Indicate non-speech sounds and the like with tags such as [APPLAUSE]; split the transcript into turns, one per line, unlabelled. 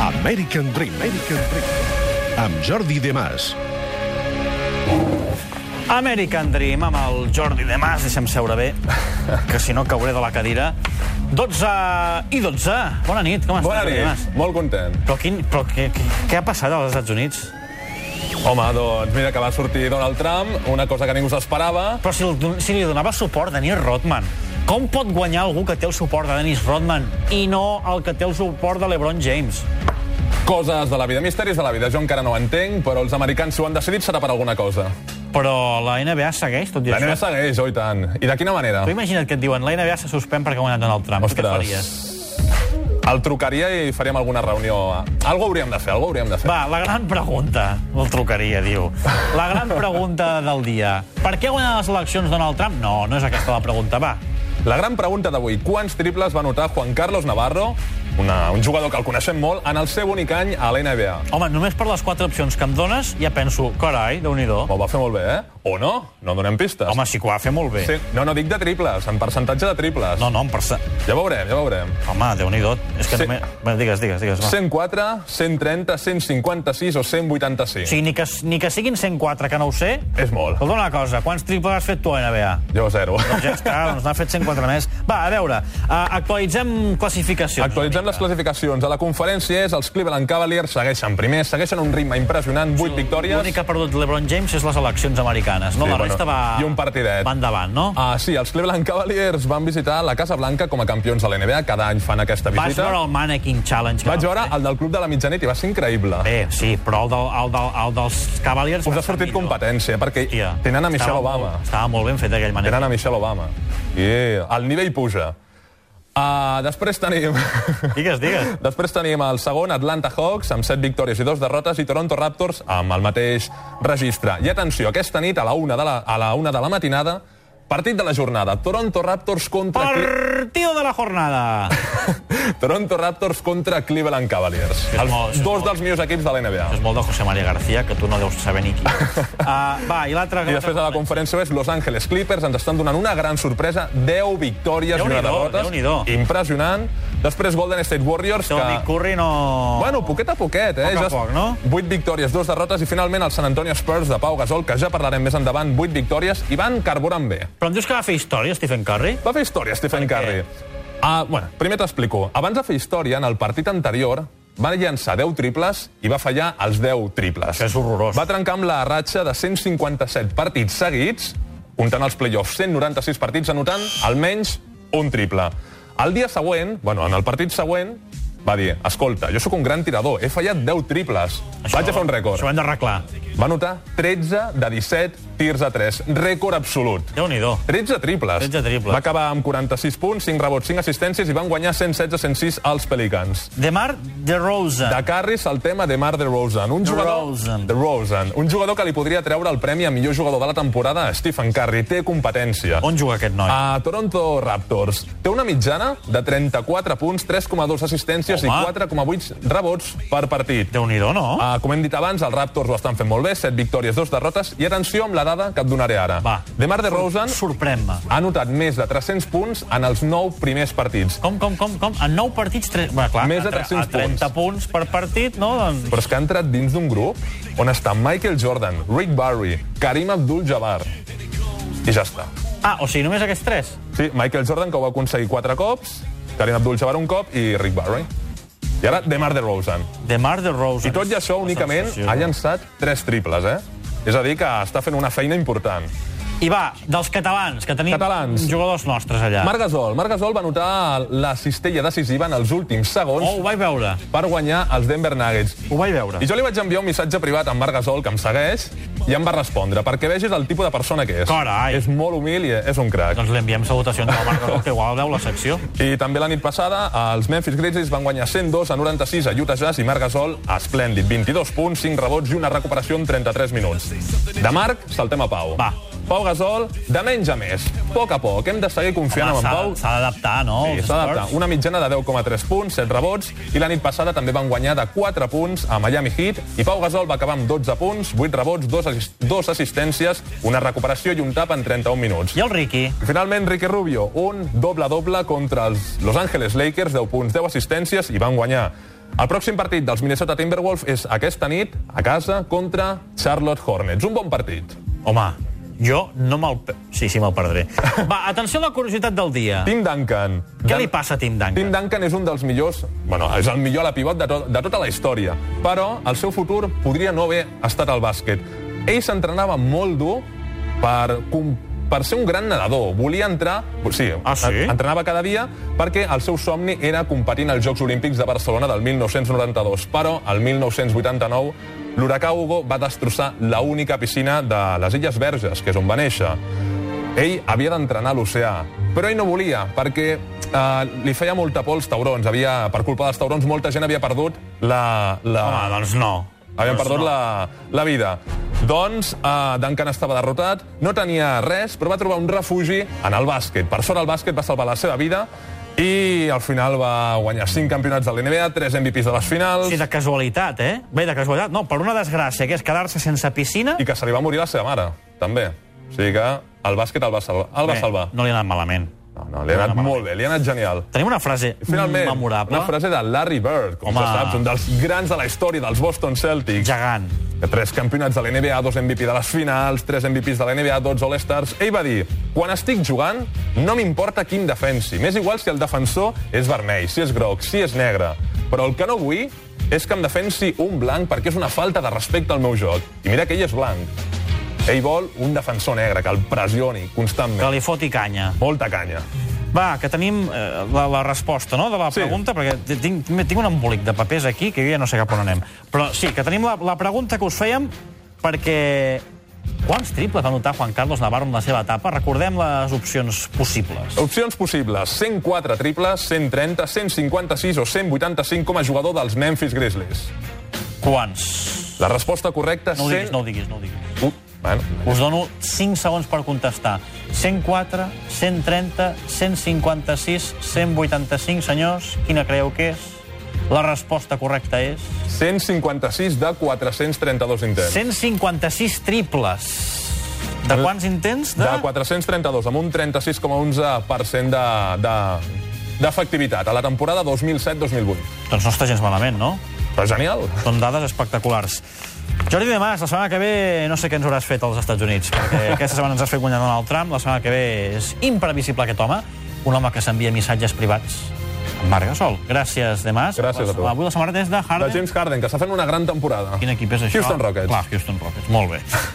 American Dream. American Dream. Amb Jordi De Mas.
American Dream amb el Jordi de Mas. Deixa'm seure bé, que si no cauré de la cadira. 12 i 12. Bona nit, com estàs?
Bona
Jordi de Mas?
nit, molt content.
Però, quin, però què, què, què ha passat als Estats Units?
Home, doncs mira que va sortir Donald Trump, una cosa que ningú s'esperava.
Però si, el, don- si li donava suport Dennis Rodman, com pot guanyar algú que té el suport de Dennis Rodman i no el que té el suport de l'Ebron James?
Coses de la vida, misteris de la vida. Jo encara no ho entenc, però els americans s'ho han decidit serà per alguna cosa.
Però la NBA segueix, tot i
La NBA
això.
segueix, oi tant. I de quina manera?
Tu imagina't que et diuen la NBA se suspèn perquè ha guanyat Donald Trump. Què faries?
El trucaria i faríem alguna reunió. Algo hauríem de fer, algo hauríem de fer.
Va, la gran pregunta. El trucaria, diu. La gran pregunta del dia. Per què guanyen les eleccions Donald Trump? No, no és aquesta la pregunta, va.
La gran pregunta d'avui, quants triples va anotar Juan Carlos Navarro, una, un jugador que el coneixem molt, en el seu únic any a la NBA?
Home, només per les quatre opcions que em dones ja penso, carai, déu nhi
Ho va fer molt bé, eh? O no? No donem pistes.
Home, sí que ho va fer molt bé.
Sí, no, no, dic de triples, en percentatge de triples.
No, no, em perce...
Ja veurem, ja veurem.
Home, déu nhi És que
Sí.
sí. només... Bé, digues, digues, digues. Va.
104, 130, 156 o 185.
O sigui, ni que, ni que siguin 104, que no ho sé...
És molt.
Escolta una cosa, quants triples has fet tu eh, a NBA?
Jo zero.
Doncs ja està, doncs n'ha fet 104 més. Va, a veure, uh, actualitzem classificacions.
Actualitzem les classificacions. A la conferència és els Cleveland Cavaliers segueixen primers, segueixen a un ritme impressionant, 8 victòries.
L'únic que ha perdut LeBron James és les eleccions americanes, no?
Sí,
la
bueno,
resta va...
i un partidet.
Va endavant, no?
Ah, sí, els Cleveland Cavaliers van visitar la Casa Blanca com a campions de la NBA. Cada any fan aquesta
Vas
visita.
veure el Mannequin Challenge. que
Vaig
va
veure
fer?
el del Club de la Mitjanit i va ser increïble.
Bé, sí, però el, del, el, del, el dels Cavaliers...
Us
va
ha sortit
ser millor.
competència, perquè
Hòstia,
tenen a Michelle
estava
Obama.
Molt, estava molt ben fet aquell Mannequin.
Tenen a Michelle Obama. Yeah. El nivell puja. Uh, després tenim... [LAUGHS]
Digues, digues.
Després tenim el segon, Atlanta Hawks, amb 7 victòries i 2 derrotes, i Toronto Raptors amb el mateix registre. I atenció, aquesta nit, a la una de la, a la, una de la matinada, partit de la jornada. Toronto Raptors contra... Cli-
Partido de la
[LAUGHS]
jornada.
Toronto Raptors contra Cleveland Cavaliers.
És
Els
molt- és
dos
molt.
dels millors equips de la NBA.
és molt de José María García, que tu no deus saber ni
[LAUGHS]
qui. Uh, va, i l'altre...
I després de la conferència és Los Angeles Clippers ens estan donant una gran sorpresa, 10 victòries i una
Déu-n'hi-do,
derrota.
Déu-n'hi-do.
Impressionant. Després Golden State Warriors,
Tony
que...
Curry no...
Bueno, poquet a poquet, eh?
Poc a
Ja-
poc, no?
Vuit victòries, dos derrotes i finalment el San Antonio Spurs de Pau Gasol, que ja parlarem més endavant, vuit victòries i van carburant bé.
Però em dius que va fer història, Stephen Curry?
Va fer història, Stephen
Per què?
Curry. Ah, bueno, primer t'explico. Abans de fer història, en el partit anterior, va llançar 10 triples i va fallar els 10 triples.
Això és horrorós.
Va trencar amb la ratxa de 157 partits seguits, comptant els play-offs, 196 partits, anotant almenys un triple. El dia següent, bueno, en el partit següent, va dir, escolta, jo sóc un gran tirador, he fallat 10 triples, això, vaig a fer un rècord.
Això ho hem d'arreglar.
Va anotar 13 de 17 tirs a 3, rècord absolut.
Déu-n'hi-do.
13 triples.
13 triples.
Va acabar amb 46 punts, 5 rebots, 5 assistències i van guanyar 116-106 als Pelicans.
Demar DeRozan.
De Carri saltem a DeMar DeRozan, un jugador...
DeRozan.
DeRozan. Un jugador que li podria treure el premi a millor jugador de la temporada a Stephen Curry. Té competència.
On juga aquest noi?
A Toronto Raptors. Té una mitjana de 34 punts, 3,2 assistències
Home.
i 4,8 rebots per partit.
Déu-n'hi-do, no?
Uh, com hem dit abans, els Raptors ho estan fent molt bé, 7 victòries, 2 derrotes, i atenció amb la dada que et donaré ara.
Va.
DeMar DeRozan
Sorprèn-me.
ha anotat més de 300 punts en els 9 primers partits.
Com, com, com, com? En 9 partits, 3... Bé, clar,
Més de
a tre-
300
a 30 punts. per partit, no? Doncs...
Però és que ha entrat dins d'un grup on estan Michael Jordan, Rick Barry, Karim Abdul-Jabbar. I ja està.
Ah, o sigui, només aquests 3?
Sí, Michael Jordan, que ho va aconseguir 4 cops, Karim Abdul-Jabbar un cop i Rick Barry. I ara DeMar DeRozan.
Demar DeRozan.
I tot i això,
La
únicament,
sensació.
ha llançat 3 triples, eh? És a dir, que està fent una feina important.
I va, dels catalans, que tenim
Catalans.
jugadors nostres allà.
Marc Gasol. Marc Gasol va anotar la cistella decisiva en els últims segons
Oh, ho vaig veure.
per guanyar els Denver Nuggets.
Ho vaig veure.
I jo li vaig enviar un missatge privat a en Marc Gasol, que em segueix, i em va respondre, perquè vegis el tipus de persona que és.
Carai.
És molt humil i és un crac.
Doncs li enviem salutacions al Marc Gasol, que igual veu la
[LAUGHS]
secció.
I també la nit passada, els Memphis Grizzlies van guanyar 102 a 96 a Utah Jazz i Marc Gasol, esplèndid, 22 punts, 5 rebots i una recuperació en 33 minuts. De Marc, saltem a Pau.
Va.
Pau Gasol, de menys a més. A poc a poc, hem de seguir confiant
Home,
en
Ah, s'ha-
Pau.
S'ha d'adaptar, no?
Sí,
als
s'ha d'adaptar.
esports?
Una mitjana de 10,3 punts, 7 rebots, i la nit passada també van guanyar de 4 punts a Miami Heat, i Pau Gasol va acabar amb 12 punts, 8 rebots, 2, assist dos assistències, una recuperació i un tap en 31 minuts.
I el Ricky?
Finalment, Ricky Rubio, un doble-doble contra els Los Angeles Lakers, 10 punts, 10 assistències, i van guanyar. El pròxim partit dels Minnesota Timberwolves és aquesta nit, a casa, contra Charlotte Hornets. Un bon partit.
Home, jo no me'l... pe- Sí, sí, me'l
[LAUGHS]
perdré. Va, atenció a la curiositat del dia.
Tim Duncan.
Què
Dan-
li passa a Tim Duncan?
Tim Duncan és un dels millors, bueno, és el millor a la pivot de, tot, de tota la història, però el seu futur podria no haver estat al bàsquet. Ell s'entrenava molt dur per, com- per ser un gran nedador. Volia entrar... Sí,
Ah, sí?
en- entrenava cada dia perquè el seu somni era competir als Jocs Olímpics de Barcelona del 1992. Però el 1989 l'huracà Hugo va destrossar la única piscina de les Illes Verges, que és on va néixer. Ell havia d'entrenar a l'oceà, però ell no volia, perquè eh, li feia molta por als taurons. Havia, per culpa dels taurons, molta gent havia perdut la... la...
Home, doncs no.
Havien
Doncs
perdut
no.
la, la vida. Doncs uh, Duncan estava derrotat, no tenia res, però va trobar un refugi en el bàsquet. Per sort, el bàsquet va salvar la seva vida i al final va guanyar 5 campionats de l'NBA, 3 MVPs de les finals
Sí, de casualitat, eh? Bé, de casualitat, no, per una desgràcia, que és quedar-se sense piscina...
i que se li va morir la seva mare, també. O sigui que el bàsquet el va salvar. El va
Bé,
salvar.
No li ha anat malament.
No, no, li ha anat
no, no,
molt bé, li ha anat genial.
Tenim una frase
Finalment,
memorable.
una frase de Larry Bird, com
Home.
ja saps, un dels grans de la història dels Boston Celtics.
Gegant.
que tres campionats de la NBA, dos MVP de les finals, tres MVPs de la NBA, 12 All-Stars... Ell va dir, quan estic jugant, no m'importa qui em defensi. M'és igual si el defensor és vermell, si és groc, si és negre. Però el que no vull és que em defensi un blanc perquè és una falta de respecte al meu joc. I mira que ell és blanc. Ell vol un defensor negre, que el pressioni
Que
constantment.
li foti canya.
Molta canya.
Va, que tenim eh, la, la resposta no, de la
Sí.
pregunta, perquè t- tinc, tinc un embolic de papers aquí que jo ja no sé cap on anem. Però sí, que tenim la, la pregunta que us fèiem perquè... Quants triples va anotar Juan Carlos Navarro en la seva etapa? Recordem les opcions possibles.
Opcions possibles, 104 triples, 130, 156 o 185 com a jugador dels Memphis Grizzlies.
Quants?
La resposta correcta...
No ho diguis,
100...
no ho diguis, no ho diguis.
Uh, bueno,
Us dono 5 segons per contestar. 104, 130, 156, 185, senyors. Quina creieu que és? La resposta correcta és...
156 de 432 intents.
156 triples. De quants intents?
De 432, amb un 36,11% de, de, d'efectivitat a la temporada 2007-2008.
Doncs no està gens malament, no?
Però genial.
Són dades espectaculars. Jordi De Mas, la setmana que ve no sé què ens hauràs fet als Estats Units,
[LAUGHS]
perquè aquesta setmana ens has fet guanyar Donald Trump, la setmana que ve és imprevisible aquest home, un home que s'envia missatges privats amb Marc Gasol. Gràcies, De Mas.
Gràcies a tu.
Avui la samarreta és de
De
Harden.
James Harden, que està fent una gran temporada.
Quin equip és això?
Houston Rockets.
Clar, Houston Rockets, molt bé.